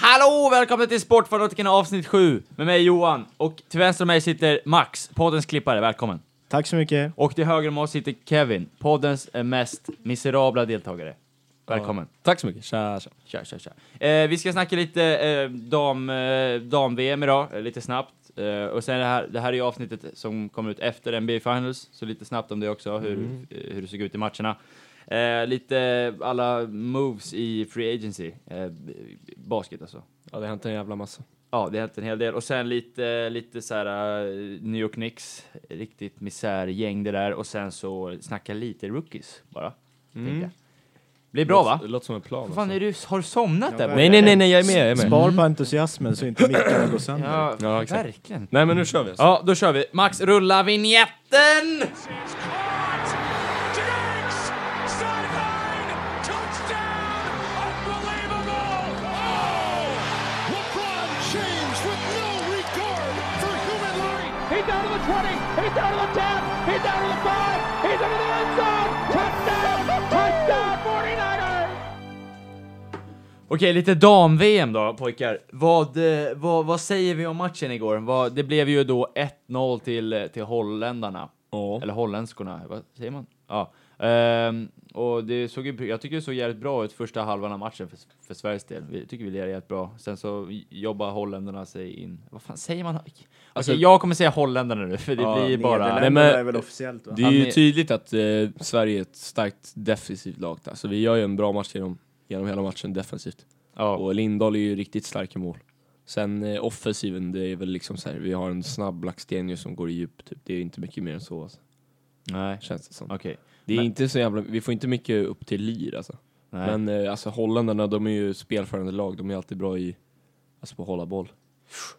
Hallå och välkommen till Sportfanatikerna avsnitt 7 med mig Johan och till vänster om mig sitter Max, poddens klippare, välkommen. Tack så mycket. Och till höger om oss sitter Kevin, poddens eh, mest miserabla deltagare. Välkommen. Tack så mycket. Tja, tja. Kör, kör, kör. Eh, vi ska snacka lite eh, dam, eh, dam-VM idag, eh, lite snabbt. Eh, och sen det här, det här är ju avsnittet som kommer ut efter NBA Finals, så lite snabbt om det också, hur, eh, hur det såg ut i matcherna. Eh, lite alla moves i Free Agency, eh, basket alltså. Ja, det har hänt en jävla massa. Ja, det har hänt en hel del. Och sen lite, lite så här eh, New York Knicks, riktigt misärgäng det där. Och sen så snacka lite rookies bara, tänkte jag. Blir Mm. bra va? Det låter som en plan. alltså. Vad fan är du, har du somnat där? Nej, nej, nej, nej, jag är med, jag är med. Spar på entusiasmen så inte mickarna går sönder. Ja, Ja, exakt. verkligen. Nej, men nu kör vi. alltså. Ja, då kör vi. Max, rulla vignetten! is caught. Diggs, sideline, touchdown, unbelievable. Oh, LeBron James with no regard for human life. He's down to the 20. He's down to the 10. He's down to the 5. He's into the end zone. Touchdown. Touchdown 49ers. Okej, lite dam-VM då pojkar. Vad, eh, vad, vad säger vi om matchen igår? Vad, det blev ju då 1-0 till, eh, till holländarna. Ja. Eller holländskorna, vad säger man? Ja. Ehm, och det såg ju, jag tycker det såg jävligt bra ut första halvan av matchen för, för Sveriges del. Vi tycker vi lirade jävligt bra. Sen så jobbar holländarna sig in. Vad fan säger man? Okej, Alltså- jag kommer säga holländarna nu, för det Ja, blir bara... Nederländerna Nej, men- är väl officiellt va? Det är Ja, ju men- tydligt att eh, Sverige är ett starkt defensivt lag. Alltså, vi gör ju en bra match genom, genom hela matchen defensivt. Ja. Och Lindahl är ju riktigt stark i mål. Sen eh, offensiven, det är väl liksom så här, vi har en snabb Blackstenius som går i djup, typ. det är inte mycket mer än så alltså, Nej, känns det som. okej. Det är Men- inte så jävla, vi får inte mycket upp till lir alltså. Nej. Men eh, alltså holländarna, de är ju spelförande lag, de är alltid bra i, alltså på att hålla boll.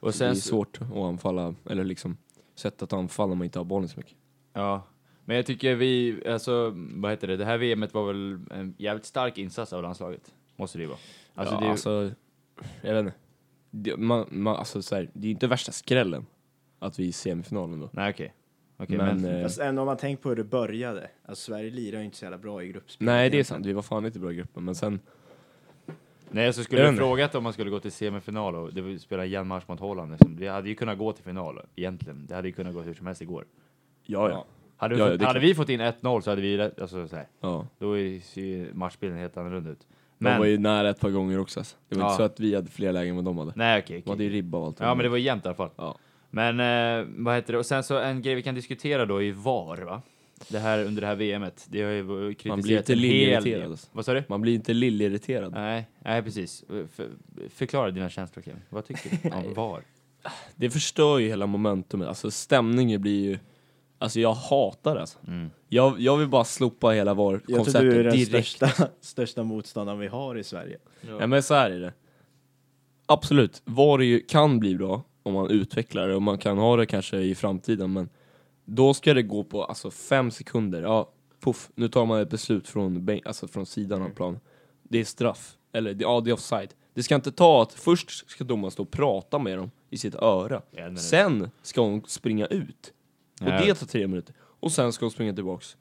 och det är sen, så- svårt att anfalla, eller liksom sätt att anfalla när man inte har bollen så mycket. Ja, men jag tycker vi, alltså, vad heter det, det här VMet var väl en jävligt stark insats av landslaget. Måste det ju vara. Alltså, Alltså, ja, det är ju, alltså jag vet inte. Det, man, man, alltså, så här, det är ju inte värsta skrällen att vi är i semifinalen då. nej okej. Okej, men, men, eh, Fast Alltså, ändå om man tänker på hur det började. Alltså Sverige lirar ju inte så jävla bra i gruppspel. nej det är sant, vi var fan inte bra i gruppen. Men sen, nej, så jag skulle vet du inte. frågat om man skulle gå till semifinal och det vill spela igen match mot Holland. Liksom. Vi hade ju kunnat gå till final egentligen. Det hade ju kunnat gå hur som helst igår. ja ja. Hade, vi Ja, ja, fått, det är hade klart. vi fått in 1-0 så hade vi, rätt- alltså, så här, ja. då är- ser ju matchbilden helt annorlunda ut. De Men, var ju nära ett par gånger också alltså. Det var Ja. inte så att vi hade fler lägen än vad de hade. nej okej. De okej. hade ju ribba och allt. Ja, men det var jämnt i alla fall. Ja. Men eh, vad heter det? Och sen så en grej vi kan diskutera då är VAR, va? Det här under det här VMet. Det har ju kritiserats Man blir lite en hel del. lillirriterad, alltså. Vad sa du? Man blir inte lillirriterad. Nej, nej precis. För, förklara dina känslor, Kevin. Vad tycker du om VAR? Det förstör ju hela momentumet, alltså stämningen blir ju... Alltså jag hatar det alltså. jag, jag vill bara slopa hela Jag tror du är VAR-konceptet den direkt. största, största motståndaren vi har i Sverige. Nej men så här är det. Absolut, VAR är ju, kan bli bra om man utvecklar det och man kan ha det kanske i framtiden men då ska det gå på alltså fem sekunder, ja puff, nu tar man ett beslut från, bän- alltså, från sidan Mm. av planen. Det är straff, eller det- ja det är offside. Det ska inte ta att först ska domaren stå och prata med dem i sitt öra, En minut. sen ska hon springa ut. Och Ja. det tar tre minuter. Och sen ska hon springa tillbaks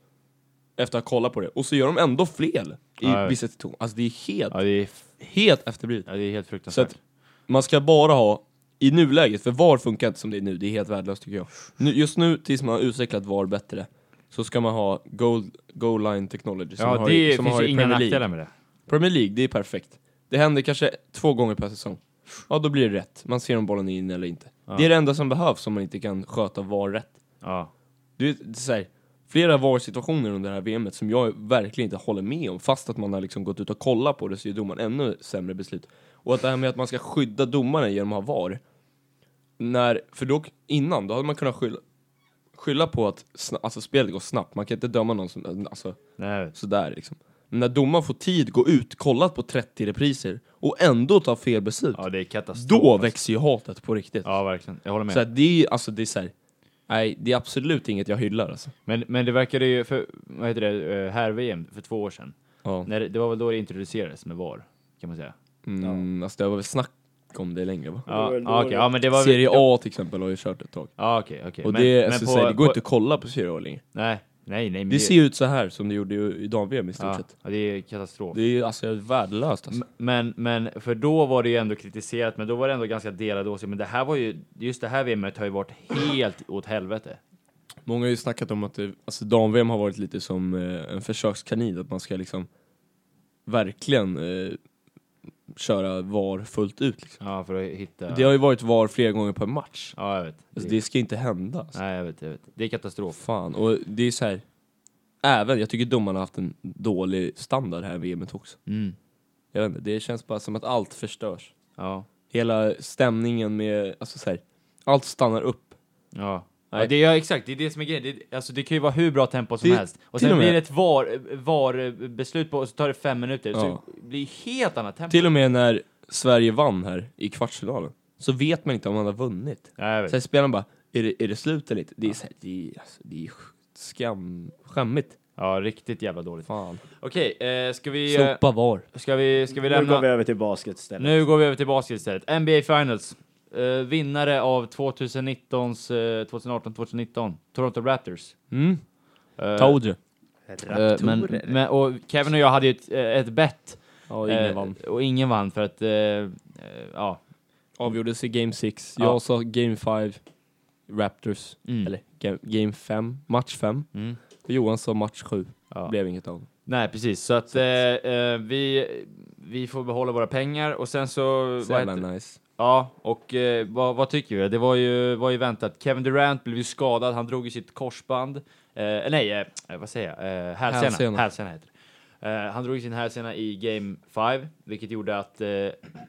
efter att ha kollat på det. Och så gör de ändå fel i Ja, ja. vissa situationer. Alltså det är helt Ja, det är, f- helt efterblivet. ja, det är helt Så fruktansvärt. att man ska bara ha, i nuläget, för VAR funkar inte som det är nu, det är helt värdelöst tycker jag. Nu, just nu, tills man har utvecklat VAR bättre, så ska man ha goal, goal line technology som man ja, har, det i- som finns man har ju i inga Premier nackdelar League. med det. Premier League, det är perfekt. Det händer kanske två gånger per säsong. Ja, då blir det rätt. Man ser om bollen är in eller inte. Det är det enda som behövs om man inte kan sköta VAR rätt. Ja. Du vet, det är så här, flera VAR-situationer under det här VMet som jag verkligen inte håller med om, fast att man har liksom gått ut och kollat på det så gör domaren ännu sämre beslut. Och att det här med att man ska skydda domaren genom att ha VAR, när, för då, innan, då hade man kunnat skylla, skylla på att sna, alltså, spelet går snabbt, man kan inte döma någon som, alltså, Nej. sådär liksom. Men när domaren får tid, gå ut, kollat på 30 repriser och ändå ta fel beslut, ja, det är katastrof. då alltså. växer ju hatet på riktigt. Ja, verkligen. Jag håller med. så att det är, alltså det är såhär, nej, det är absolut inget jag hyllar alltså. Men, men det verkade ju, för, vad heter det, eh, här-VM för två år sedan. Ja. När det, det var väl då det introducerades med VAR, kan man säga. Mm, alltså det var väl snack om det länge va? Ja, var väl då ja, okej. det- ja men det var Serie A till exempel har ju kört ett tag. Ja, okej, okej. Och Men- det, men alltså, på- så här, det går på- inte att kolla på Serie A längre. Nej, Nej, nej, men Det ser ju ut så här som det gjorde i i dam-VM i stort ja, sett. ja, det är katastrof. Det är ju alltså värdelöst alltså. M- Men, men, för då var det ju ändå kritiserat, men då var det ändå ganska delade åsikter. Men det här var ju, just det här VMet har ju varit helt åt helvete. Många har ju snackat om att det- alltså, dam-VM har varit lite som eh, en försökskanin, att man ska liksom verkligen eh, köra VAR fullt ut. Liksom. Ja, för att hitta... Det har ju varit VAR flera gånger per match. Ja, jag vet. Alltså, det... det ska inte hända. Alltså. Nej, jag vet, jag vet. Det är katastrof. Fan, och det är så här. Även, jag tycker domarna har haft en dålig standard här i VMet också. Mm. Jag vet inte, det känns bara som att allt förstörs. Ja. Hela stämningen med, alltså så här, allt stannar upp. Ja. Nej. Ja, det, ja, exakt. Det är det som är grejen. Det, alltså, det kan ju vara hur bra tempo som Till- helst. Och till sen och med- blir det ett VAR-beslut på, och så tar det fem minuter. Ja. Så det blir helt annat tempo. Till och med när Sverige vann här i kvartsfinalen, så vet man inte om man har vunnit. Ja, jag vet. Sen spelarna bara, är det, är det slut eller inte? Det är, så här, det är, alltså, det är sk- skam, skämmigt. Ja, riktigt jävla dåligt. Fan. Okej, eh, ska vi... eh, Slopa VAR. Ska vi, ska vi Nu lämna... går vi över till basket istället. Nu går vi över till basket istället. NBA Finals. Eh, vinnare av 2019s, eh, 2018-2019, Toronto Raptors. Mm, Eh, told you. eh, Raptorer. men, men, och Kevin och jag hade ju ett, eh, ett bett. Ja, ingen eh, vann. Och ingen vann för att, eh, eh, ja. Avgjordes i game 6. Mm. Ja. Jag sa game 5, Raptors. Mm. Eller ga- game 5, match 5. Mm. Och Johan sa match 7. Ja. Blev inget av. Nej, precis. Så att eh, eh, vi, vi får behålla våra pengar och sen så... Så vad jävla heter- nice. Ja, och eh, vad, vad tycker vi? Det var ju, var ju väntat. Kevin Durant blev ju skadad, han drog ju sitt korsband. Eh, nej, eh, vad säger jag? Eh, hälsena. Hälsena. Hälsena. heter det. Eh, han drog ju sin hälsena i Game 5, vilket gjorde att eh,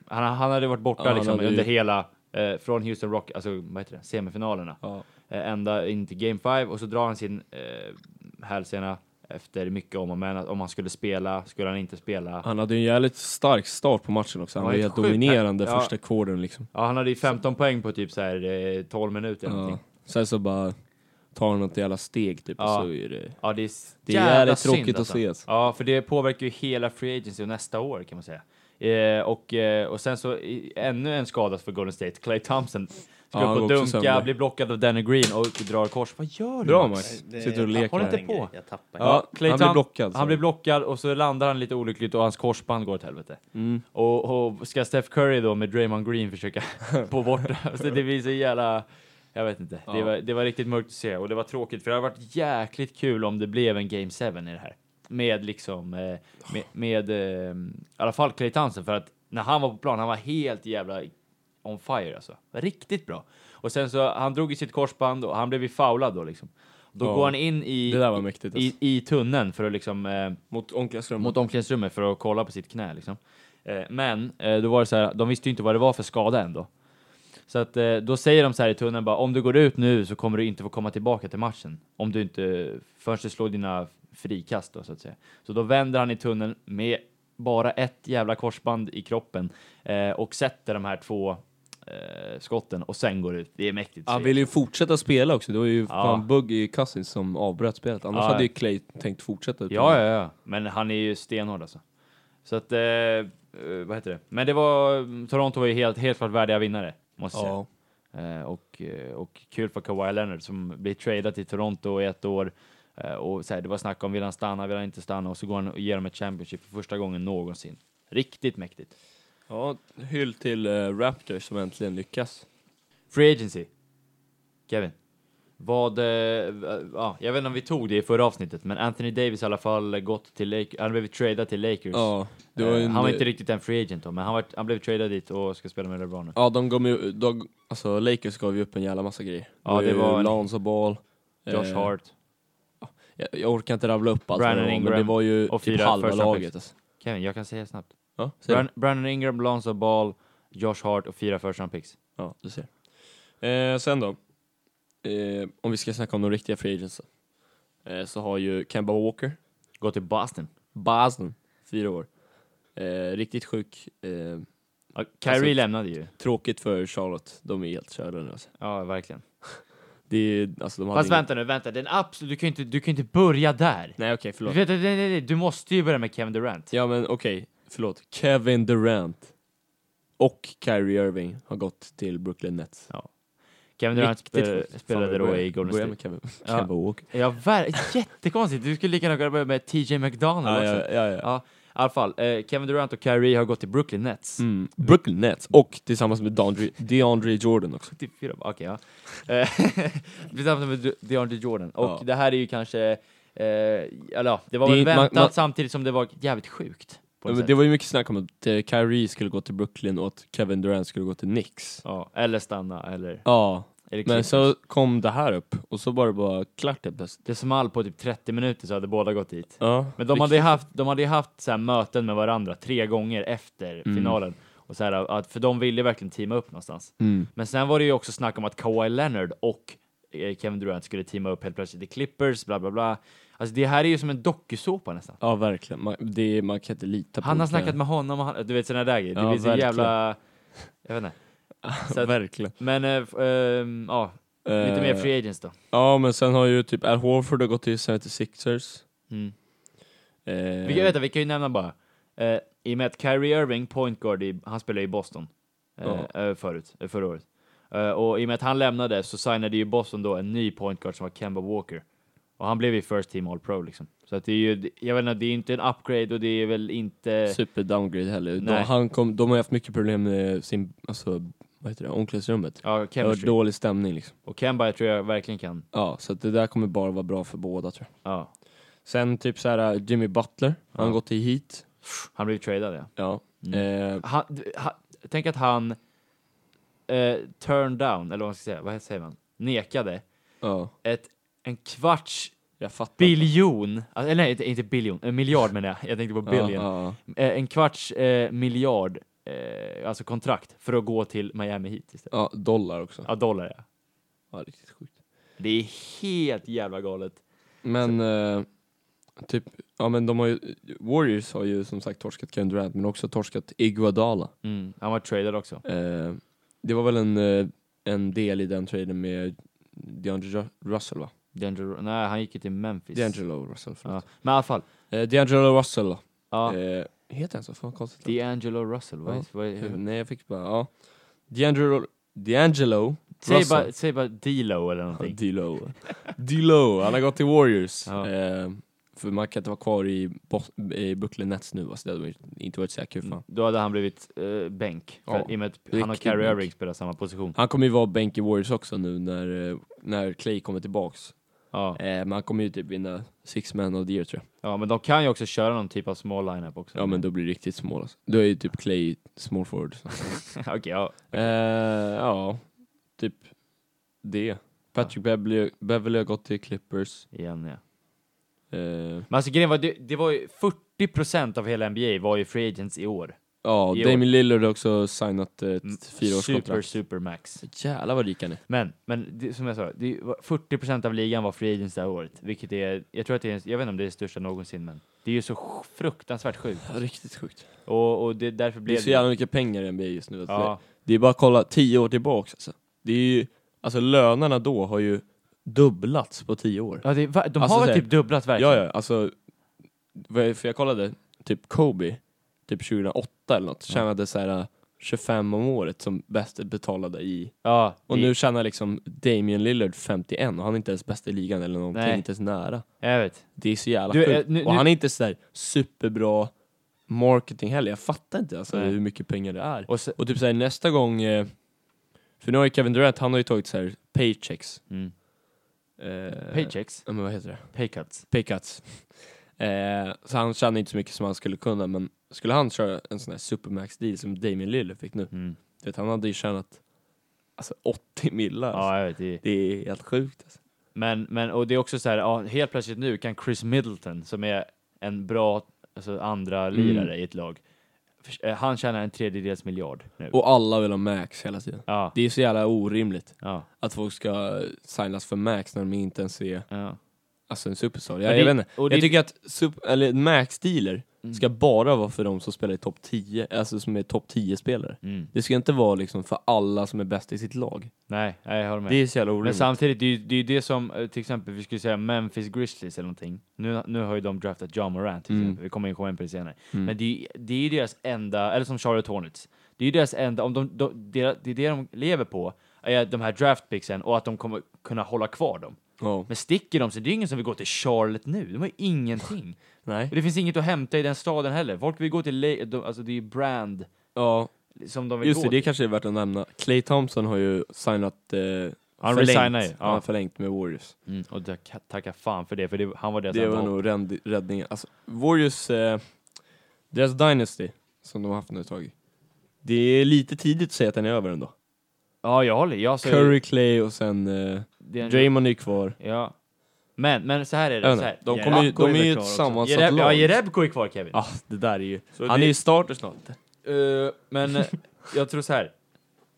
han, han hade varit borta Ja, han liksom, hade ju- under hela, eh, från Houston Rock, alltså vad heter det, semifinalerna. Ja. Eh, ända in till Game 5 och så drar han sin eh, hälsena efter mycket om och men, att om han skulle spela, skulle han inte spela. Han hade ju en jävligt stark start på matchen också. Han Ja, var helt helt sjukt. dominerande Ja. första quartern liksom. Ja, han hade ju 15 poäng på typ så här, eh, 12 minuter. eller Ja. någonting. Sen så bara tar han något jävla steg typ Ja. och så är det... Ja, det är, Det är jävla jävligt synd, tråkigt att alltså. se, alltså. Ja, för det påverkar ju hela Free Agency och nästa år kan man säga. Eh, och, eh, och sen så i, ännu en skada för Golden State. Clay Thompson ska Ja, upp han och går dunka, också sönder. blir blockad av Danny Green och drar kors. Vad gör du? Bra Max? Max! Det- Sitter och jag leker. tappar Håll inte här. en på. grej. Jag tappar en Ja, Clay han blir Thom- blockad, sa Han du. blir blockad och så landar han lite olyckligt och hans korsband går åt helvete. Mm. Och, och ska Steph Curry då med Draymond Green försöka på bort så det blir så jävla... Jag vet inte. Det, Ja. var, det var riktigt mörkt att se och det var tråkigt för det hade varit jäkligt kul om det blev en Game 7 i det här. Med liksom, eh, med, med eh, i alla fall Clay Thompson för att när han var på plan, han var helt jävla on fire alltså. Riktigt bra. Och sen så, han drog i sitt korsband och han blev ju foulad då liksom. Då Ja. går han in i, Det där var mäktigt i, alltså. i tunneln för att liksom eh, Mot omklädningsrummet. mot omklädningsrummet för att kolla på sitt knä liksom. Eh, men eh, då var det så här, de visste ju inte vad det var för skada ändå. Så att eh, då säger de så här i tunneln bara, om du går ut nu så kommer du inte få komma tillbaka till matchen. Om du inte, förrän du slår dina frikast då så att säga. Så då vänder han i tunneln med bara ett jävla korsband i kroppen eh, och sätter de här två eh, skotten och sen går ut. Det är mäktigt. att Han se. ville ju fortsätta spela också. Det var ju fan Ja. Buggy Cousins som avbröt spelet. Annars Ja, hade ja. ju Clay tänkt fortsätta. utan- Ja, ja, ja. Men han är ju stenhård alltså. Så att, eh, eh, vad heter det? Men det var, Toronto var ju helt, helt klart värdiga vinnare, måste jag ja. säga. Eh, och, eh, och kul för Kawhi Leonard som blir tradad till Toronto i ett år. Eh, och så här, det var snack om, vill han stanna, vill han inte stanna? Och så går han och ger dem ett Championship för första gången någonsin. Riktigt mäktigt. Ja, hyll till eh, Raptors som äntligen lyckas. Free Agency. Kevin. Vad, eh, v- ja, jag vet inte om vi tog det i förra avsnittet, men Anthony Davis i alla fall gått till Lakers, han blev tradad till Lakers. Ja, det var Eh, en, han var inte riktigt en free agent då, men han, var, han blev tradad dit och ska spela med LeBron nu. Ja, de gav ju, de, alltså Lakers gav ju upp en jävla massa grejer. Ja, det ju var en- Lonzo Ball. Josh eh, Hart. Jag, jag orkar inte rabbla upp allt Brandon vad det var, men Ingram det var ju och typ fyra halva första laget. picks. Alltså. Kevin, jag kan säga snabbt. Ja, ser Bran- Brandon Ingram, Lonzo Ball, Josh Hart och fyra first round picks. du? Ja, du ser. Eh, sen då, eh, om vi ska snacka om de riktiga free agents eh, så har ju Kemba Walker, Gå till Boston. Basen, fyra år. Eh, riktigt sjuk. Eh, Ja, Kyrie Alltså- lämnade ju. tråkigt för Charlotte, de är helt körda nu alltså. Ja, verkligen. Det är, alltså de hade Fast ingen- vänta nu, vänta. Den absolut, du kan ju inte, du kan ju inte börja där. Nej okej, förlåt. Du, vet, nej, nej, nej, du måste ju börja med Kevin Durant. Ja men okej, förlåt. Kevin Durant och Kyrie Irving har gått till Brooklyn Nets. Kevin Durant Riktigt spel, sjukt. Fan, eh, spelade vi då börjar- i Golden börjar State. med Kevin, Ja. Kevin Walker. Ja, ver- jättekonstigt. Du skulle lika gärna kunna börja med TJ McDonald Ja, också. ja, ja, ja. Ja, i alla fall. Eh, Kevin Durant och Kyrie har gått till Brooklyn Nets. Mm. Brooklyn Nets, och tillsammans med DeAndre, DeAndre Jordan också. 74, okej ja. Eh, Tillsammans med Du- DeAndre Jordan. Och Ja. det här är ju kanske, eh, eller ja, det var Det är väl inte- man- väntat man- samtidigt som det var jävligt sjukt. På Ja, något men sätt. det var ju mycket snack om att eh, Kyrie skulle gå till Brooklyn och att Kevin Durant skulle gå till Knicks. ja, eller stanna, eller... Ja, eller men Clippers. så kom det här upp och så var det bara klart det plötsligt. Det small på typ 30 minuter så hade båda gått dit. Ja. Men de hade ju haft, de hade ju haft så här möten med varandra tre gånger efter Mm. finalen. Och så här, att, för de ville verkligen teama upp någonstans. Mm. Men sen var det ju också snack om att Kawhi Leonard och eh, Kevin Durant skulle teama upp helt plötsligt i Clippers, bla bla bla. Alltså det här är ju som en dokusåpa nästan. Ja, verkligen. Man, det, man kan inte lita på Han har olika- snackat med honom och han, du vet sådana där grejer. Det Ja, blir så verkligen. jävla... Jag vet inte. så att- verkligen. Men eh, f- ehm, ja, lite mer Eh, free agents då. Ja, men sen har ju typ Al Horford har gått till 76ers. Mm. Eh, Vi, kan, vänta, vi kan ju nämna bara, eh, i och med att Kyrie Irving, point guard, i, han spelade i Boston eh, Ja. eh, förut, eh, förra året. Eh, och i och med att han lämnade så signade ju Boston då en ny point guard som var Kemba Walker. Och han blev ju first team all pro liksom. Så att det är ju, jag vet inte, det är inte en upgrade och det är väl inte... Super downgrade heller. De, Nej. han kom, de har haft mycket problem med sin, alltså, vad heter det, omklädningsrummet. Ja, Det var chemistry. dålig stämning liksom. Och Kemba jag tror jag verkligen kan. Ja, så att det där kommer bara vara bra för båda tror jag. Ja. Sen typ så här Jimmy Butler, han Ja. Mm. har gått till Heat. Han blev tradad ja. Ja. Eh, han, d- ha- tänk att han eh, turn down, eller vad man ska säga, vad säger man? Nekade ja. ett, en kvarts Jag fattar. biljon, alltså, eller nej, inte, inte biljon, en miljard menar jag, jag tänkte på Ja, billion. ja, ja. Eh, en kvarts eh, miljard, eh, alltså kontrakt, för att gå till Miami Heat istället. ja, dollar också. Ja, dollar ja. Ja, riktigt sjukt. Det är helt jävla galet. Men eh, typ, ja men de har ju, Warriors har ju som sagt torskat Kevin Durant men också torskat Iguodala. Mm. Han var tradad också. Eh, det var väl en, eh, en del i den traden med DeAndre Ru- Russell va? D'Angelo, nej, han gick ju till Memphis. D'Angelo Russell Ja. förlåt. Men i alla fall, Eh, D'Angelo Russell då. ja, Eh, heter han så? Fan konstigt. D'Angelo Russell, vad, Ja. Mm. vad, Hur- Nej jag fick bara, ja. D'Angelo, D'Angelo Säg Russell. bara, säg bara D-Lo eller någonting. D-Lo. D-Lo, han har gått till Warriors. Ja. Eh, för man kan inte vara kvar i, Bos- i Brooklyn Nets nu, alltså det hade varit- inte varit så här kul för han. Då hade han blivit eh, bänk. För Ja, att I och med att han och riktigt Carrie bänk. Irving spelar samma position. Han kommer ju vara bänk i Warriors också nu när, eh, när Clay kommer tillbaks. Ja. Eh, men han kommer ju typ vinna Six Man of the Year tror jag. ja, men de kan ju också köra någon typ av small lineup också. Ja men då blir det riktigt small alltså. Då är ju typ Clay small forward. Okej, ja. eh, ja, typ det. Patrick Beverly, Beverly har gått till Clippers. Igen, ja. Eh, Men alltså grejen var, det, det var ju 40% av hela NBA var ju free agents i år. ja, I år. Damien Lillard har också signat ett Mm, Super, fyraårskontrakt. super max. Jävlar vad rika ni Men, men det, som jag sa, det var 40% av ligan var free agents det här året. Vilket är, jag tror att det är, jag vet inte om det är det största någonsin, men det är ju så sj- fruktansvärt sjukt. Riktigt sjukt. Och, och det, därför Det är blev så jävla mycket pengar i NBA just nu. alltså. Ja, Det är bara att kolla tio år tillbaks alltså. Det är ju, alltså lönerna då har ju dubblats på tio år. ja det, är va- de Alltså, har så väl här- typ dubblat verkligen? Ja, ja, alltså, vad jag- för jag kollade, typ Kobe, typ 2008 eller något, Ja. tjänade så här 25 om året som bäst betalade i, ja och det- nu tjänar liksom Damian Lillard 51 och han är inte ens bäst i ligan eller någonting, Nej. inte ens nära. Jag vet. Det är så jävla Du, sjukt. eh, nu- och nu- han är inte så här superbra marketing heller, jag fattar inte alltså Nej. hur mycket pengar det är. Och se, Och typ såhär nästa gång, eh, för nu har ju Kevin Durant, han har ju tagit såhär paychecks. mm. Eh, Paychecks? Ja men vad heter det? Paycuts? Paycuts. Eh, så han tjänar inte så mycket som han skulle kunna, men skulle han köra en sån här supermax deal som Damien Lillard fick nu, Mm. du vet, han hade ju tjänat alltså 80 millar. Alltså. Ja, jag vet. Det. Det är helt sjukt alltså. Men, men, och det är också så här, ja, helt plötsligt nu kan Chris Middleton, som är en bra alltså, andra Mm. lirare i ett lag, förs- eh, han tjänar en tredjedels miljard nu. Och alla vill ha max hela tiden. Ja, Det är så jävla orimligt ja, att folk ska signas för max när de inte ens är ja. Alltså en superstar, Men jag, det- jag vet inte. och Jag det- Mm. tycker att sup- eller Max-dealer ska bara vara för de som spelar i topp 10, alltså som är topp 10-spelare. Mm. Det ska inte vara liksom för alla som är bäst i sitt lag. Nej, nej, jag håller med. Det är så jävla men orimligt. samtidigt, det är ju det, är ju det som eh, till exempel, vi skulle säga Memphis Grizzlies eller någonting. Nu, nu har ju de draftat John Morant till Mm. exempel, vi kommer in- komma in på det senare. Men det är, ju- det är ju deras enda, eller som Charlotte Hornets, det är ju deras enda, om de, de, dera- det är det de lever på, är de här draftpicksen och att de kommer kunna hålla kvar dem. Ja. Men sticker de så det är ingen som vill gå till Charlotte nu. De har ju ingenting. Nej. Och det finns inget att hämta i den staden heller. Folk vill gå till... Le- de, alltså det är ju brand Ja, som de vill just gå det, det till. kanske är värt att nämna. Clay Thompson har ju signat... Eh, Han förlängt. resignar ju, ja. Han har förlängt med Warriors. Mm, och jag ka- tackar fan för det, för det, han var deras Det enda var hopp. nog ränd- räddningen. Alltså, Warriors, eh, deras Dynasty, som de har haft nu ett tag. Det är lite tidigt att säga att den är över ändå. Ja, jag håller. Jag säger- Curry, Clay och sen eh, det är en- Draymond är kvar. Ja. Men, men så här är Jag det. vet Så här. inte, De, Ja, kommer ju, Jakob är de är väl ju klar ett också. sammansatt Jereb, ja, lag. Jerebko är kvar, Kevin. ah, det där är ju... Så han det- är ju starter snart. Eh, men eh, jag tror så här.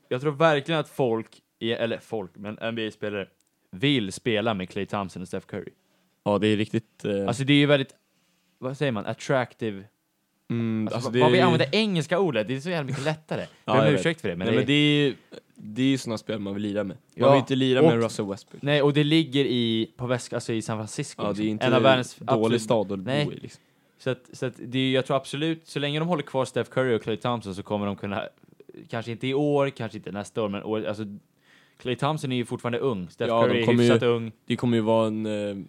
Jag tror verkligen att folk, i- eller folk, men NBA-spelare vill spela med Clay Thompson och Steph Curry. Ja, det är riktigt... Eh, Alltså det är ju väldigt, vad säger man, attractive. mm, Alltså, alltså, vad- det vad vi är- använder engelska ordet, det är så jävla mycket lättare. Ja, Jag ber jag om vet. ursäkt för det, men, Nej, det, men det är ju det är ju såna spel man vill lira med. Man Ja, vill inte lira och- med Russell Westbrook. Nej, och det ligger i, på väst, alltså i San Francisco. Ja, det liksom. är inte en av världens dålig absolut- stad att bo Nej. i. Liksom. Så, att, så att det är, jag tror absolut, så länge de håller kvar Steph Curry och Clay Thompson så kommer de kunna, kanske inte i år, kanske inte nästa år, men år, alltså Clay Thompson är ju fortfarande ung, Steph Ja, de Curry är kommer ju- hyfsat ung. Det kommer ju vara en... Eh,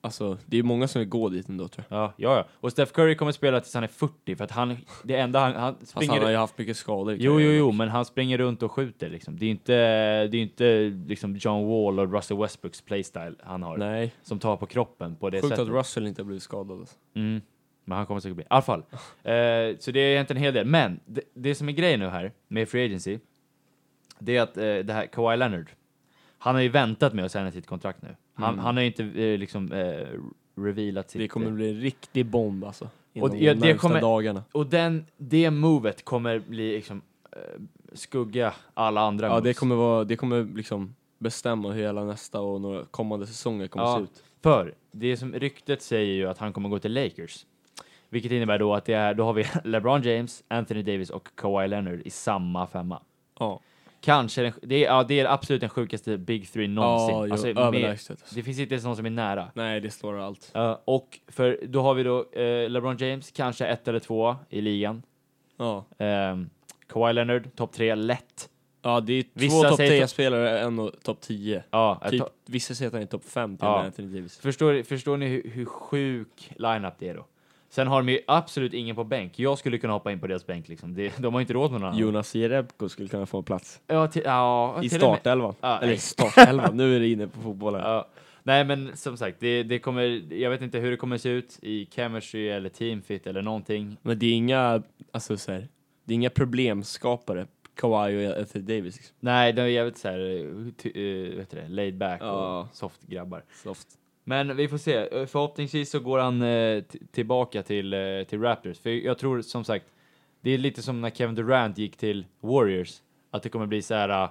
alltså, det är många som vill gå dit ändå tror jag. Ja, ja, ja. Och Steph Curry kommer spela tills han är 40 för att han, det enda han, han Fast springer... han har ju haft mycket skador. i jo, jo, karriären. jo, men han springer runt och skjuter liksom. Det är inte, det är inte liksom John Wall och Russell Westbrooks playstyle han har. Nej, Som tar på kroppen på det sjukt att sättet. Russell inte har blivit skadad. Alltså. Mm. Men han kommer säkert bli. I alla fall. Eh, så det är egentligen en hel del. Men det, det som är grejen nu här med Free Agency, det är att eh, det här Kawhi Leonard, han har ju väntat med att signa sitt kontrakt nu. Han, Mm. han har ju inte eh, liksom eh, revealat sitt... Det kommer bli en riktig bomb alltså. Och Och det- det, ja, de det närmsta kommer- dagarna. Och den, det movet kommer bli liksom eh, skugga alla andra Ja, moves. det kommer, vara, det kommer liksom bestämma hur hela nästa och några kommande säsonger kommer Ja. se ut. För det som ryktet säger ju att han kommer gå till Lakers. Vilket innebär då att det är, då har vi LeBron James, Anthony Davis och Kawhi Leonard i samma femma. Ja, Kanske, den, det, är, ja, det är absolut den sjukaste Big Three någonsin. ja jo, Alltså, med- överlägset. Alltså. det finns inte ens någon som är nära. Nej, det slår allt. Eh, och för då har vi då eh, LeBron James, kanske ett eller två i ligan. Ja, Um, Kawhi Leonard, topp tre, lätt. ja det är två Vissa topp säger- 10-spelare, en och topp 10. Ja, ett Typ, to- vissa säger att han är topp 5 till Ja. och med Anthony Davis. förstår, förstår ni hur, hur sjuk lineup det är då? Sen har de ju absolut ingen på bänk. Jag skulle kunna hoppa in på deras bänk liksom. Det, de har ju inte råd med någon annan. Jonas Jerebko skulle kunna få plats Ja, till, ja, i till och med- startelvan. Ja, Eller nej. startelvan, nu är det inne på fotbollen. Ja. Nej, men som sagt, det, det kommer, jag vet inte hur det kommer se ut i chemistry eller teamfit eller någonting. Men det är inga, alltså så här, det är inga problemskapare, Kawhi och Anthony Davis. Liksom. Nej, de är jävligt såhär, uh, vet du det, laid back Ja. och soft grabbar. Soft. Men vi får se, Eh, förhoppningsvis så går han eh, t- tillbaka till, eh, till Raptors. För jag tror som sagt, det är lite som när Kevin Durant gick till Warriors, att det kommer bli så här. eh,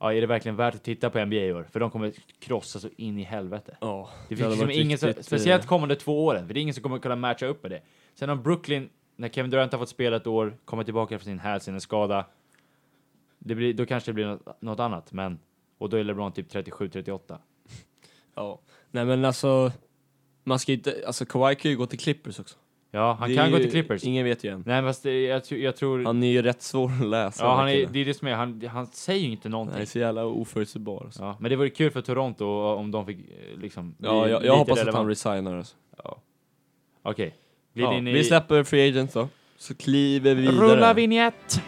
ja, är det verkligen värt att titta på NBA i år? För de kommer krossa så in i helvete. Ja, Det hade finns liksom varit ingen som, riktigt, eh, speciellt kommande två åren, för det är ingen som kommer kunna matcha upp med det. Sen om Brooklyn, när Kevin Durant har fått spela ett år, kommer tillbaka från sin hälseneskada, det blir, då kanske det blir något, något annat, men och då är LeBron typ 37-38. Ja. Nej men alltså, man ska ju inte, alltså Kawhi kan ju gå till Clippers också. Ja, han Det kan är gå ju- till Clippers. Ingen vet ju än. Nej, fast det, jag, tror- jag tror... Han är ju rätt svår att läsa. ja, han är, verkligen. det är det som är, han, han säger ju inte någonting. Han är så jävla oförutsägbar. Alltså. Ja, men det vore kul för Toronto om de fick eh, liksom... bli Ja, jag, lite jag hoppas att han relevant. resignar. Alltså. Okej. Glid Ja, in i... Vi släpper Free Agent då, så kliver vi vidare. Rulla vignett!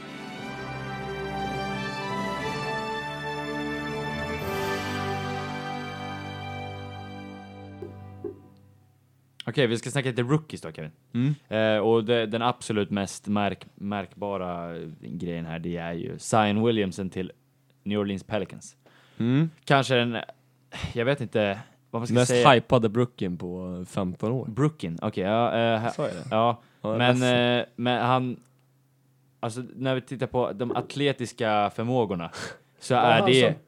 Okej, vi ska snacka lite rookies då Kevin. Mm. Eh, och det, den absolut mest märk, märkbara eh, grejen här, det är ju Zion Williamson till New Orleans Pelicans. Mm. Kanske den, jag vet inte vad man ska Mest säga. hypade Brooken på eh, 15 år. Brooklyn, okej. ja, eh, ha- Sa jag det? ja, Ja, men, ledsen. eh, men han... Alltså när vi tittar på de atletiska förmågorna så är han det... som-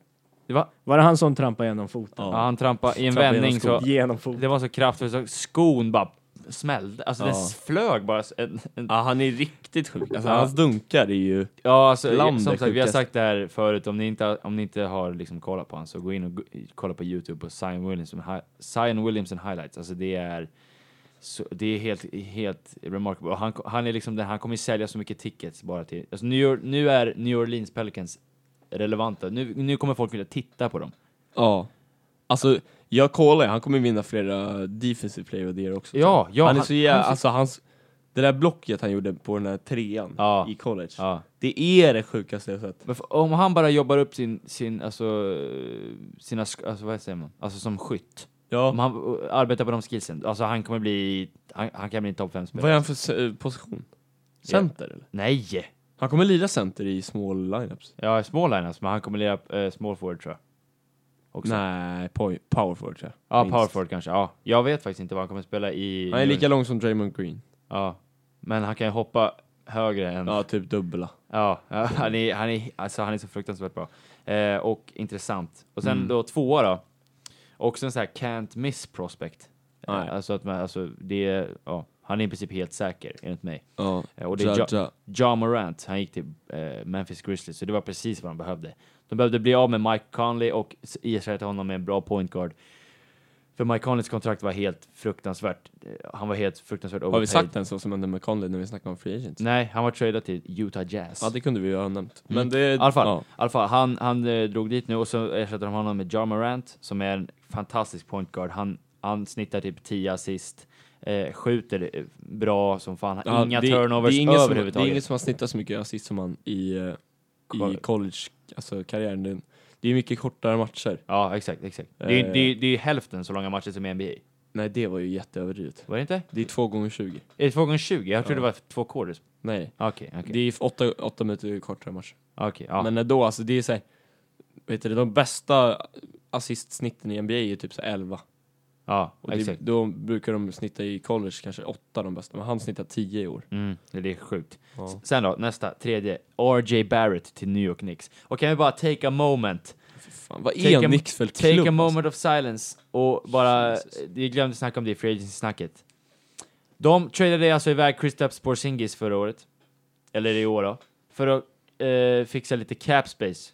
det var, Var det han som trampade genom foten? ja. Ja. han trampade i en Trampade vändning genom så... Genom foten. Det var så kraftfullt så skon bara smällde. Alltså den Ja. flög bara. s- En, en, Ja, han är riktigt sjuk. Alltså, Ja. Hans dunkar är ju... ja, alltså, Land är som sagt, vi har sjukast. sagt det här förut. Om ni inte, om ni inte har liksom kollat på honom så gå in och gu- kolla på Youtube på Zion Williamson, hi, Zion Williamson highlights. Alltså det är... Så, det är helt, helt remarkable. Och han, han, är liksom den, han kommer ju sälja så mycket tickets bara till... Alltså New York, nu är New Orleans Pelicans relevanta. Nu, nu kommer folk vilja titta på dem. Ja. Alltså, jag kollar, han kommer vinna flera defensive player och det också. Ja, ja, han är han- så jävla, han- alltså hans, det där blocket han gjorde på den där trean Ja. i college. Ja. Det är det sjukaste jag sett. Men f- om han bara jobbar upp sin, sin alltså, eh, sina, sk- alltså vad säger man, alltså som skytt. Om Ja. han eh, arbetar på de skillsen, alltså han kommer bli, han, han kan bli en topp 5-spelare. Vad är han för se- eh, position? Center eller? Nej! Han kommer lira center i small lineups. Ja, small liners, men han kommer lira eh, small forward tror jag. Också. Nej, poj- power forward tror jag. Ja, Minst. power forward kanske. Ja, jag vet faktiskt inte vad han kommer spela i... Han är lika lång som Draymond Green. Ja, men han kan ju hoppa högre än... Ja, typ dubbla. Ja, ja, han, är, han, är, alltså, han är så fruktansvärt bra. Eh, och intressant. Och sen då tvåa då. Också en sån här can't miss prospect. Eh, Nej. Alltså att man, alltså det är, ja, han är i princip helt säker enligt mig. Ja. Eh, och det är Ja, ja, ja. ja. Morant, han gick till eh, Memphis Grizzlies, så det var precis vad de behövde. De behövde bli av med Mike Conley och s- ersätta honom med en bra point guard. För Mike Conleys kontrakt var helt fruktansvärt. Eh, Han var helt fruktansvärt Har vi overpaid. sagt den så som hände med Conley när vi snackade om free agents? Nej, han var tradad till Utah Jazz. Ja, det kunde vi ju ha nämnt. Men Mm. I det... alla fall, Ja. i alla fall han, han eh, drog dit nu och så ersätter de honom med Ja Morant som är en fantastisk point guard. Han, han snittar typ 10 assist, eh, skjuter eh, bra som fan, Ja, inga det- turnovers det är ingen som- överhuvudtaget. Det är ingen som har snittat så mycket assist som han i, eh, i College. college, alltså karriären. Det- Det är mycket kortare matcher. Ja, exakt, exakt. Det är, Eh. det, är, det är hälften så långa matcher som i NBA. Nej, det var ju jätteöverdrivet. Var det inte? Det är två gånger 20. Är det två gånger 20? Jag trodde Ja. det var två quarters. Nej, Okej, okej. det är åtta, åtta minuter kortare matcher. Okej, ja. Men ändå, alltså det är såhär, vet du, de bästa assistsnitten i NBA är typ så här 11. ja, Och det, exakt. då brukar de snitta i college kanske åtta de bästa, men han snittar 10 i år. Mm, det är sjukt. Ja. S- Sen då, nästa, tredje. RJ Barrett till New York Knicks. Och kan vi bara take a moment Fy Fan, vad Take är a- Nix för Take klubb? a alltså? moment of silence och bara, Jesus. vi glömde snacka om det i free agency-snacket. De tradade alltså iväg Kristaps Porzingis förra året, eller i år då, för att eh, fixa lite cap space.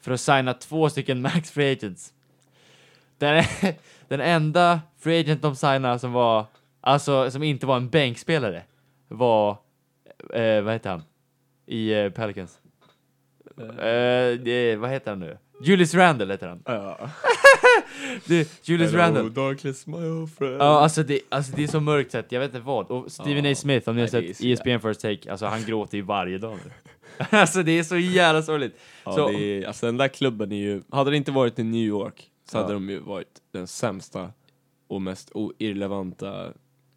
För att signa två stycken max free agents. Den, den enda free agent de signade som var, alltså som inte var en bänkspelare, var, eh, vad heter han, i eh, Pelicans? Eh, det- vad heter han nu? Julius Randle heter han. Ja. Det, Julius Randle. Hello, darkness, my old friend. Ja, alltså det, alltså det är så mörkt sett, jag vet inte vad. Och Steven Ja. A. Smith, om ni har Nej, det är sett så jävla- ESPN First Take, alltså han gråter ju varje dag nu. alltså det är så jävla sorgligt. Ja, så, det är, alltså den där klubben är ju, hade det inte varit i New York så Ja. hade de ju varit den sämsta och mest o- irrelevanta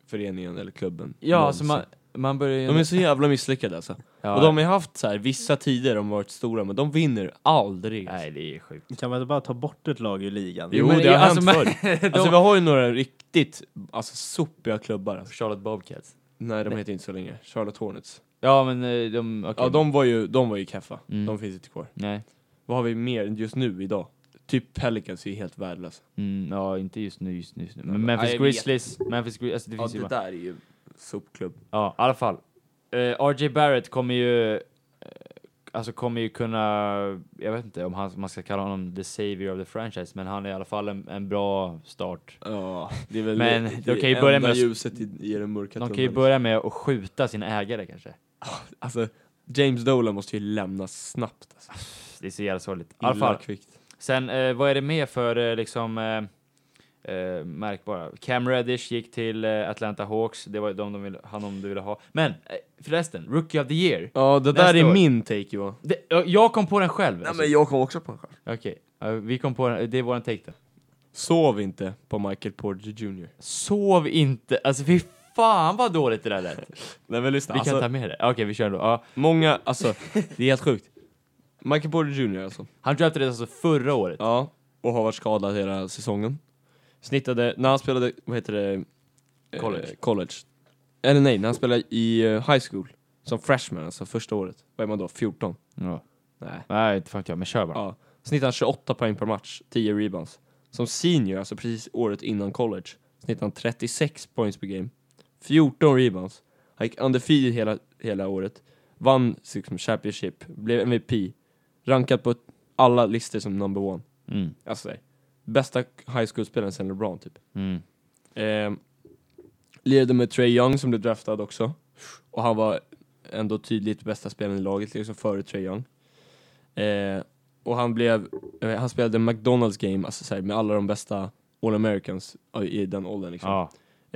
föreningen eller klubben. ja, alltså någonsin. man, man börjar ju... De är så jävla misslyckade alltså. Ja. och de har ju haft så här, vissa tider de har varit stora men de vinner aldrig. Nej, det är sjukt. Kan man inte bara ta bort ett lag ur ligan? Jo, men det har alltså, hänt men- förr. de- Alltså vi har ju några riktigt alltså, sopiga klubbar. Alltså. Charlotte Bobcats. Nej, de heter inte så länge. Charlotte Hornets. Ja, men eh, de... okej. Ja, de var ju, de var ju keffa. Mm. De finns inte kvar. Nej. Vad har vi mer just nu idag? Typ Pelicans är ju helt värdelösa. Mm, ja, inte just nu, just nu. Just nu. Men Nej, Memphis jag vet. Grizzlies, Memphis Grizzlies, alltså det finns ju bara... där är ju sopklubb. Ja, i alla fall. Eh, RJ Barrett kommer ju... eh, alltså kommer ju kunna... Jag vet inte om han, man ska kalla honom the savior of the franchise, men han är i alla fall en, en bra start. Ja, det är väl Men det, de kan ju börja enda med att- ljuset i, i den mörka De kan ju tunneln. börja med att skjuta sin ägare kanske. Alltså, James Dolan måste ju lämna snabbt. Alltså. Det är så jävla sorgligt. I Illa alla fall. kvickt. Sen, eh, vad är det mer för eh, liksom... Eh, eh, märkbara. Cam Reddish gick till eh, Atlanta Hawks. Det var ju de de ville, han om du ville ha. Men eh, förresten, Rookie of the Year. Ja, det Nästa där är år. min take Johan. Det, jag- jag kom på den själv. alltså. jag kom också på en Okej, ja, vi kom på den. Det är våran take då. Sov inte på Michael Porter Jr. Sov inte. Alltså fy fan vad dåligt det där lät. Vi Nej men lyssna, kan alltså, ta med det. Okej, vi kör då. Ja. många, alltså, det är helt sjukt. Michael Porter Jr alltså. Han draftades alltså förra året. Ja, och har varit skadad hela säsongen. Snittade, när han spelade, vad heter det? Eh, College. college. Eller nej, när han spelade i eh, high school. Som freshman, alltså första året. Vad är man då? 14? Ja. Nej. Nej, inte fan vet jag, men kör bara. Ja. Snittar han 28 poäng per match, 10 rebounds. Som senior, alltså precis året innan college, snittar han 36 points per game, 14 rebounds. Han gick undefeated hela, hela året, vann liksom, Championship, blev MVP, rankad på alla listor som number one. Mm. Alltså, bästa high school-spelaren sen LeBron, typ. Mm. Ehm, lirade med Trey Young som blev draftad också. Och han var ändå tydligt bästa spelaren i laget, liksom före Trey Young. Ehm, och han blev, eh, han spelade McDonalds game, alltså så här, med alla de bästa All Americans eh, i den åldern liksom. Ja.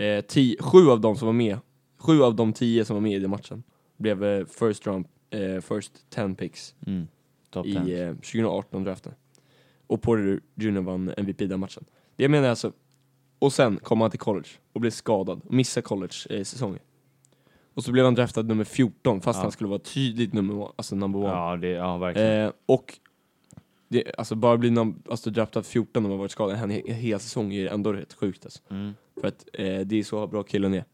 Eh, ti, sju av dem som var med, sju av de tio som var med i den matchen blev eh, first round, eh, first ten picks Mm. Top i 10. eh, 2018-draften. Och Porter Jr vann MVP den matchen. Det jag menar är alltså, och sen kom han till college och blev skadad och missade college-säsongen. Och så blev han draftad nummer 14 fast Ja. han skulle vara tydligt nummer, alltså number one. Ja, det, ja verkligen. Eh, och det, alltså bara bli nam- alltså draftad 14 om man varit skadad en he- hel säsong är ändå rätt sjukt alltså. Mm. För att eh, det är så bra killen är.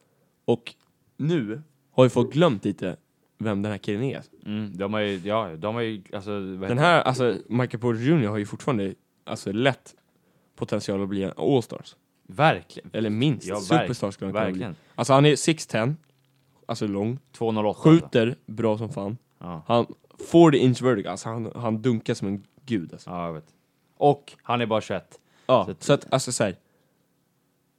Och nu har ju folk glömt lite vem den här killen är. Mm. De har ju, ja, de har ju, alltså, vad heter Den det? här, alltså Michael Porter Jr har ju fortfarande alltså lätt potential att bli en All-Stars. Verkligen. Eller minst, Ja, verk- Superstar skulle han kunna bli. Verkligen. Alltså han är 6'10, alltså lång, 208. alltså. skjuter bra som fan. Ja. Han, 40 inch vertical, alltså han, han dunkar som en gud alltså. ja, jag vet. Och han är bara 21. Ja, Så att- så att alltså så här.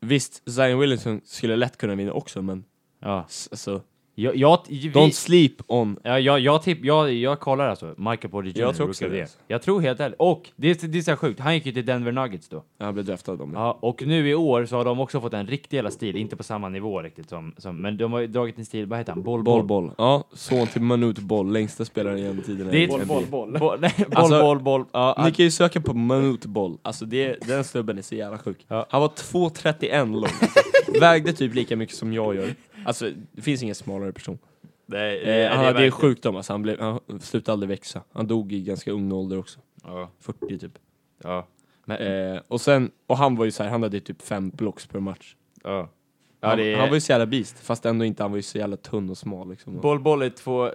Visst, Zion Williamson skulle lätt kunna vinna också, men Ja. s- alltså, Jag, jag, vi, don't sleep on... ja, jag, jag, tipp, jag, jag kollar alltså, Michael Porter Jr. Jag tror också rookie of the det, year. alltså. Jag tror helt ärligt. Och det, är- det är så här sjukt, han gick ju till Denver Nuggets då. Han blev draftad av dem. Ja. Ja, och nu i år så har de också fått en riktig jävla stil, inte på samma nivå riktigt som, som men de har ju dragit en stil, vad heter han? Boll, Boll, boll, boll. Ja, son till Manute Boll, längsta spelaren genom tiderna. Det är i ett- NBA. Boll, boll, boll. boll, nej, boll, Alltså- boll, boll. Ja, Ni han, kan ju söka på Manute Boll, alltså det, den snubben är så jävla sjuk. Ja. Han var 2,31 lång. alltså. Vägde typ lika mycket som jag gör. Alltså, det finns ingen smalare person. nej, det- Eh, han det är hade ju verkligen- sjukdom, alltså. han, blev, han slutade aldrig växa. Han dog i ganska ung ålder också, Ja, 40 typ. ja. Men, Eh, och sen, och han var ju så här, han hade typ fem blocks per match. ja. ja Han, det är, han var ju så jävla beast, fast ändå inte, han var ju så jävla tunn och smal liksom. Boll, boll är två-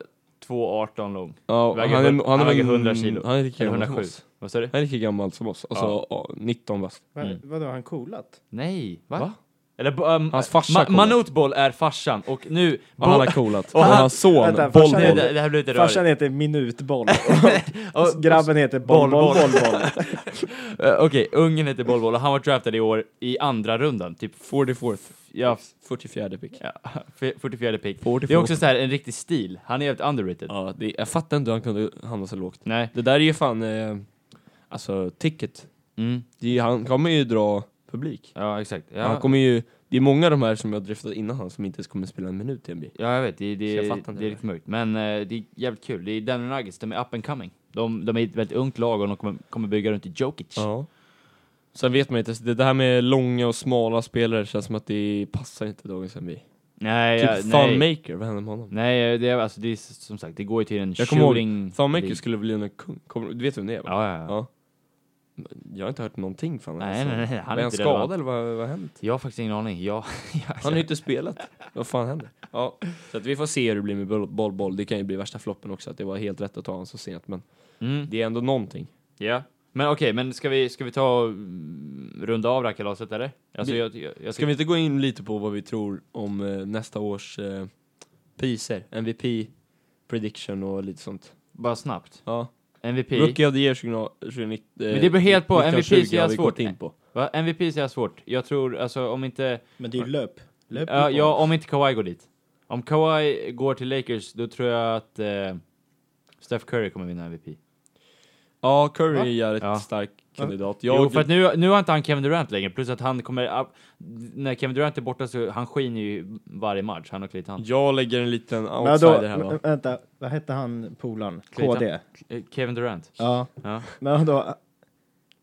2,18 lång. ja, väger han, är- hund- han han, är väl- väger 100 kilo. Han är lika Eller gammal som 107. oss. Vad sa du? Han är lika gammal som oss, alltså ja. 19 bast. Va, Mm. Vadå, har han coolat? Nej, va? Va? Eller bo- um, Hans farsa Ma- kommer. Manute Boll är farsan och nu... Och han Boll- har coolat. Och Och han- hans son, Vänta, Boll farsan Nej, är- Boll. det, det här blir lite Farsan rörigt. heter Minutboll. Och- Och grabben heter Boll, Boll, Boll, boll. Boll, Boll. Eh, Okej, ungen heter Boll Boll och han var draftad i år i andra rundan, typ 44th. ja, 44 pick. ja, 44 pick. Det är 44. också så här en riktig stil, han är jävligt underrated. Ja, det, jag fattar inte hur han kunde hamna så lågt. Nej. Det där är ju fan, eh, alltså ticket. Mm. Det, är- han kommer ju dra publik. Ja, exakt. Ja, Han kommer ju, det är många av de här som jag driftat innan han som inte ens kommer spela en minut i NBA. ja jag vet, det, det, Så jag det, fattar inte är det. riktigt mörkt. Men eh, det är jävligt kul. Det är Denver Nuggets, de är up and coming. De, de är ett väldigt ungt lag och de kommer, kommer bygga runt i Jokic. Ja. Sen vet man inte, så det det här med långa och smala spelare känns som att det passar inte dagens NBA. Nej, ja, typ nej. Thunmaker, vad hände med honom? Nej, det är, alltså, det är s- som sagt, det går ju till en Jag kommer shooting... ihåg, Thunmaker league. Mm. skulle bli en kung, kommer, du vet vem det är va? Ja, ja, ja. Ja. Jag har inte hört någonting från honom. Nej, nej, nej, han är är han inte relevant. skadad eller vad, vad har hänt? Jag har faktiskt ingen aning. Jag, jag, Han har ju inte spelat. vad fan händer? Ja, så att vi får se hur det blir med boll, boll, boll. Det kan ju bli värsta floppen också, att det var helt rätt att ta honom så sent. Men Mm. det är ändå någonting. Ja. Men okej, men ska vi, ska vi ta och mm, runda av det här kalaset eller? Alltså, Vi- jag, jag, jag Ska vi inte gå in lite på vad vi tror om eh, nästa års eh, priser? MVP, prediction och lite sånt. bara snabbt. Ja. MVP. Rookie of the year 2019. Men det beror helt på. MVP så 1920 har jävla vi svårt. gått in på. Va? MVP är jag svårt. Jag tror, alltså om inte, Men det är ju löp. Löp ja, ju ja, boll. om inte Kawhi går dit. Om Kawhi går till Lakers, då tror jag att eh, Steph Curry kommer vinna MVP. Ja, Curry Va? är jävligt Ja. stark Va? kandidat. jo, för att nu, nu har inte han Kevin Durant längre, plus att han kommer, up- när Kevin Durant är borta så, han skiner ju varje match, han och Clayton. jag lägger en liten Men då, outsider här va. vä- vänta, vad hette han polaren? Clayton. KD? Eh, Kevin Durant. Ja. Ja. Men då,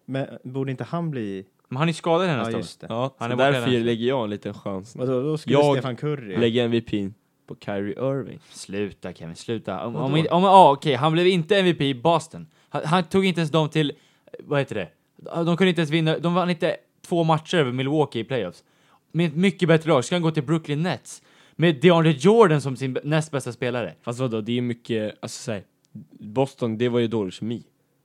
men borde inte han bli... Men han är skadad den här Ja, staven. just det. Ja, Han så är borta därför redan. lägger jag en liten chans. Vadå, då skulle Jag Stefan Curry... Lägger MVP på Kyrie Irving. Sluta Kevin, sluta. Om, om, om, ah, okej, han blev inte MVP i Boston. Han, han tog inte ens dem till, vad heter det? De kunde inte ens vinna, de vann inte två matcher över Milwaukee i playoffs. Med ett mycket bättre lag ska han gå till Brooklyn Nets. Med DeAndre Jordan som sin b- näst bästa spelare. Fast vadå, det är mycket, alltså såhär, Boston, det var ju dålig kemi.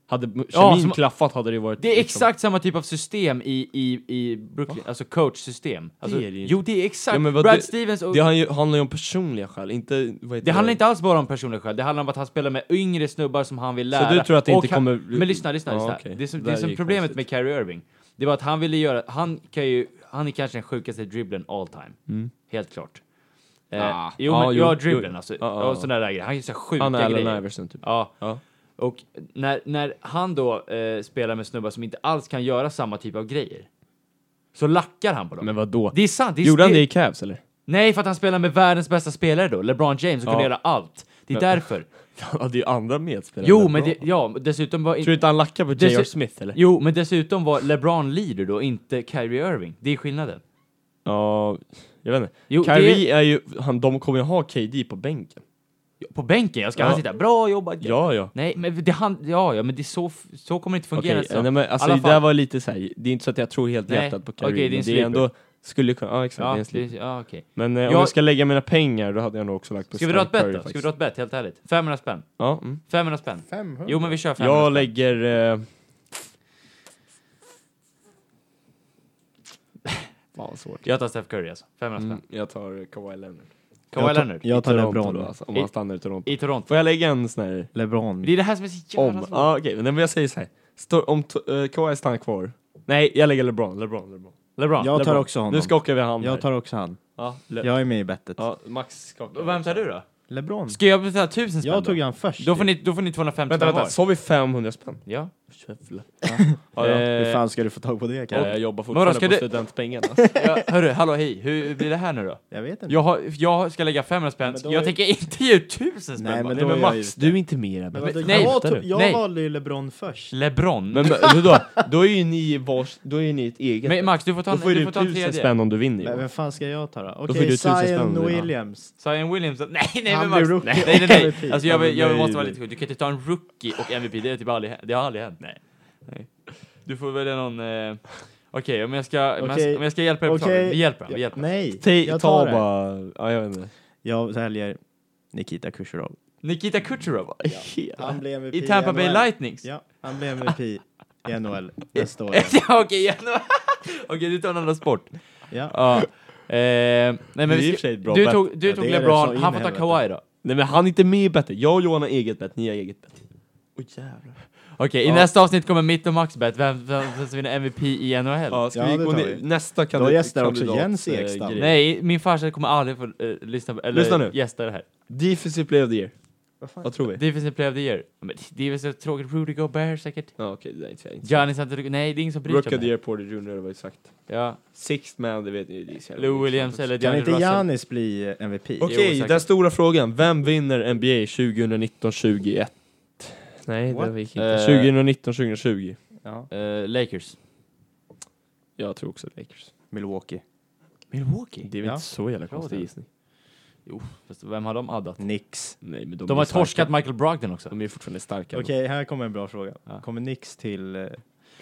Hade kemin Ja, som- klaffat hade det varit... Det är liksom- exakt samma typ av system i, i, i Brooklyn, alltså coachsystem. Alltså, Det är det ju inte. jo, det är exakt. Ja, men vad Brad det- Stevens och... Det han ju- handlar ju om personliga skäl, inte... Vad heter Det handlar inte alls bara om personliga skäl, det handlar om att han spelar med yngre snubbar som han vill Så lära. du tror att det Och inte han, kommer- Men lyssna, lyssna, Ja, lyssna. okej. Det som, Det det där är som ju problemet konstigt. med Kyrie Irving, det var att han ville göra, han kan ju, han är kanske den sjukaste dribblen all time. Helt klart. Eh, Ah. jo, Ja, men jo, ja, dribblen jo. alltså. Mm. Ja, ja, och ja. sådana där grejer. Han gör så här sjuka Han är grejer. Allen Iverson typ. Ja. Ja. Och när, när han då eh, spelar med snubbar som inte alls kan göra samma typ av grejer, så lackar han på dem. Men vad då? det är sant. Det är Gjorde han spe- det i Cavs eller? Nej, för att han spelar med världens bästa spelare då, LeBron James, som Ja. kunde göra allt. Det är Men- därför. Han hade ju andra medspelare. Jo, än men det, LeBron. ja, dessutom var... Tror du In, inte han lackar på Det J.R. ser- Smith eller? jo, men dessutom var LeBron leader då, inte Kyrie Irving. Det är skillnaden. Ja, jag vet inte. Jo, det Kyrie är ju, han, de kommer ju ha KD på bänken. är, på bänken, jag ska Ja. han sitta bra jobbat. Ja, ja. Nej, men det han, ja, ja, men det är så, f- så kommer det inte fungera. Okej, så. nej, men alltså Alla det fall- där var lite såhär, det är inte så att jag tror helt Nej, hjärtat på okej, Kyrie, det är en men det sleeper. är ändå, skulle kunna, ja exakt, det är ja, en sleeper. det- ja, okej. Men eh, om Jag- jag ska lägga mina pengar då hade jag nog också lagt på Ska vi dra ett Steph Curry bett då? Ska vi faktiskt. dra ett bett, helt ärligt? 500 spänn. Ja, mm. 500 spänn. 500? Jo, men vi kör 500 Jag spänn. lägger... Eh, Fan vad svårt. Jag tar Steph Curry alltså. 500 Mm, spänn. jag tar Kawhi Leonard. Kawhi tar- Leonard. Jag tar I Toronto LeBron. då, alltså, om han I- stannar i Toronto. I Toronto. Får jag lägga en sån här... LeBron. Det är det här som är så jävla Om, svårt. ja okej, men jag säger så här. Stå, om to- eh, Kawhi stannar kvar. Nej, jag lägger LeBron, LeBron, LeBron. LeBron. Jag tar LeBron. också honom. Nu skakar vi hand här. Jag tar också han. Ja, Le- Jag är med i bettet. ja, Max skakar. Vem tar du då? LeBron. Mm. Ska jag betala 1000 spänn Jag tog då? han först. Då får ni, då får ni 250 Vänta, spänn vänta, var. sa vi 500 spänn? Ja. Jävlar. Ja, Ja, ja. ja. Hur Eh, fan ska du få tag på det Ja, Kalle? jag jobbar Men vadå, fortfarande ska på du- studentpengen. ja, hörru, hallå hej, hur blir det här nu då? Jag vet inte. Jag, har, jag ska lägga 500 spänn, Men då jag är- tänker inte ge ut 1000 spänn Nej, bara. men då är jag ju- du är inte med i det Men här. vadå, nej, jag vänta tog, nu. jag Nej. valde ju LeBron först. LeBron. Men Men, men då, då är ju ni vars, då är ju ni ett eget. Max, du får ta, då en- får ju du du får ta en tusen tredje. spänn om du vinner. Men Johan. vem fan ska jag ta då? Okej, får du tusen spänn om du Zion vinner. Williams. Zion Williams, nej nej men Han Max, blir nej rookie. nej nej. MVP. Alltså jag, vill, Han jag blir måste vara lite MVP. cool, du kan inte ta en rookie och MVP, det, är typ aldrig, det har aldrig hänt. Nej. nej. Du får välja någon, eh... okej om jag ska, om jag Okej. ska- om jag ska hjälpa dig att betala, Okej. vi hjälper honom, vi hjälper honom. Nej, Ta- jag ta tar det. bara, ja jag vet inte. Jag väljer Nikita Kucherov. Nikita Kucherov Han blev MVP i Tampa Bay NHL. Lightnings. Ja, han blev MVP i NHL nästa år. Ja, okej, igen. okej, du tar en annan sport. Ja. Ja. Eh, nej, men Det är vi i ska- och för sig ett bra du bet. tog, du Ja, tog det är rätt så LeBron, in han i får ta helvete. Kawhi då. Nej men han är inte med i bettet. Jag och Johan har eget bett, ni har eget bett. Åh jävlar. Okej, i Ja. nästa avsnitt kommer mitt och Max bet. Vem, vem, vem som vinner MVP i NHL? Ja, ska Ja, vi det gå tar ner? vi. Nästa kandidat. gästar också kandidat, Jens eh, Ekstam. grej. Nej, min farsa kommer aldrig få eh, lyssna på, eller Lyssna nu. gästa det här. Defensive player of the year. Vad tror vi? Defensive player of the year. Men det är väl så tråkigt, Rudy Gobert säkert. Ja okej, det där är inte jag. Giannis Antetokounmpo, nej det är ingen som bryr Rook sig of om the det. year, Porter Jr, det var exakt. Ja, Sixth man, det vet ni ju. det är så jävla Lou Williams oklart. eller Kan Johnny inte Russell. Giannis bli eh, MVP? Jo, Okej, säkert. den stora frågan. Vem vinner NBA 2019-2021? Nej, What? det gick Eh. inte. 2019-2020. Ja. Eh, Lakers. Jag tror också Lakers. Milwaukee. Milwaukee? Det är väl Ja. inte så jävla Tror konstig det. gissning? Fast vem har de addat? Knicks. Nej, men De, Mm, är har starka. torskat Michael Brogdon också. De är fortfarande starka. Okej, här kommer en bra fråga. Ja. Kommer Knicks till eh,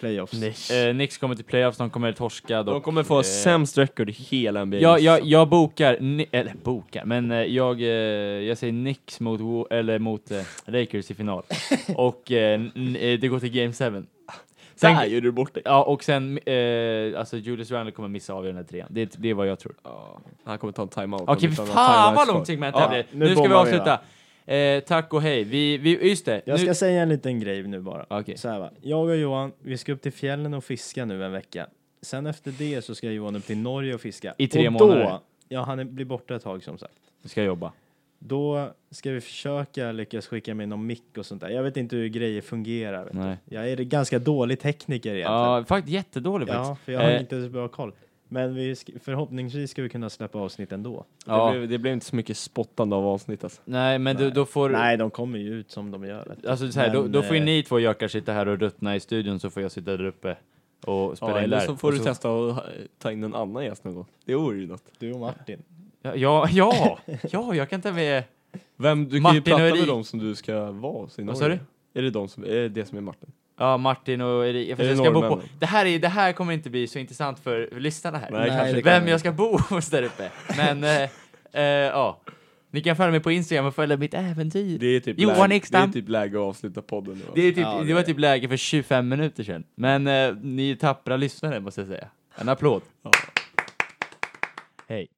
playoffs? Eh, Knicks kommer till playoffs, de kommer torska. De kommer få eh, sämst record i hela NBA. Jag, jag, jag bokar, ni- eller bokar, men eh, jag, eh, jag säger Knicks mot, Wo- eller mot eh, Lakers i final. och eh, n- eh, det går till Game 7. Sen, Där gör du bort dig. ja, och sen, eh, alltså Julius Randle kommer missa avgörande trean. Det, det är vad jag tror. Ja, Han kommer ta en timeout. Han Okej, kommer ta fy några fan vad timeouts långt kvar. segment det Ja, här blev. nu Nu ska vi bommar vi, avsluta. Eh, tack och hej. Vi, vi, just det. Jag nu, ska säga en liten grej nu bara. Okej. Så här va. Jag och Johan, vi ska upp till fjällen och fiska nu en vecka. Sen efter det så ska Johan upp till Norge och fiska. I tre och månader. Då, ja, han är- blir borta ett tag som sagt. Nu ska jag jobba. Då ska vi försöka lyckas skicka med någon mick och sånt där. Jag vet inte hur grejer fungerar. Vet du. Nej. Jag är ganska dålig tekniker egentligen. Ja, faktiskt jättedålig faktiskt. ja, för jag har Eh, inte så bra koll. Men vi sk- förhoppningsvis ska vi kunna släppa avsnitt ändå. Ja. Det, blev, det blev inte så mycket spottande av avsnitt alltså. Nej, men Du, Nej. då får... Nej, de kommer ju ut som de gör. Vet du. Alltså så här, då, Men, då får ju eh, ni två gökar sitta här och ruttna i studion så får jag sitta där uppe och spela Ja, in eller där. så får Och du testa att eh, ta in en annan gäst någon gång. Det vore ju något. Du och Martin. Ja, ja, ja, ja, jag kan ta med... Vem, du Martin och kan ju prata Erik. med dem som du ska vara hos i Norge. Vad sa du? Är det de som, är det, det som är Martin? Ja, Martin och Erika. Är Jag det ska bo på. norrmännen? Det, här är, det här kommer inte bli så intressant för lyssnarna här. Nej, kanske det inte. kan Vem jag ska bo hos där uppe. Men, eh, eh, ja. Ni kan följa mig på Instagram och följa mitt äventyr. Det är typ, Johan läge, det är Ekstam. typ läge att avsluta podden nu. va? Det, är typ, Ja, det det var är- typ läge för 25 minuter sedan. Men eh, ni är tappra lyssnare måste jag säga. En applåd. Ja. Hej.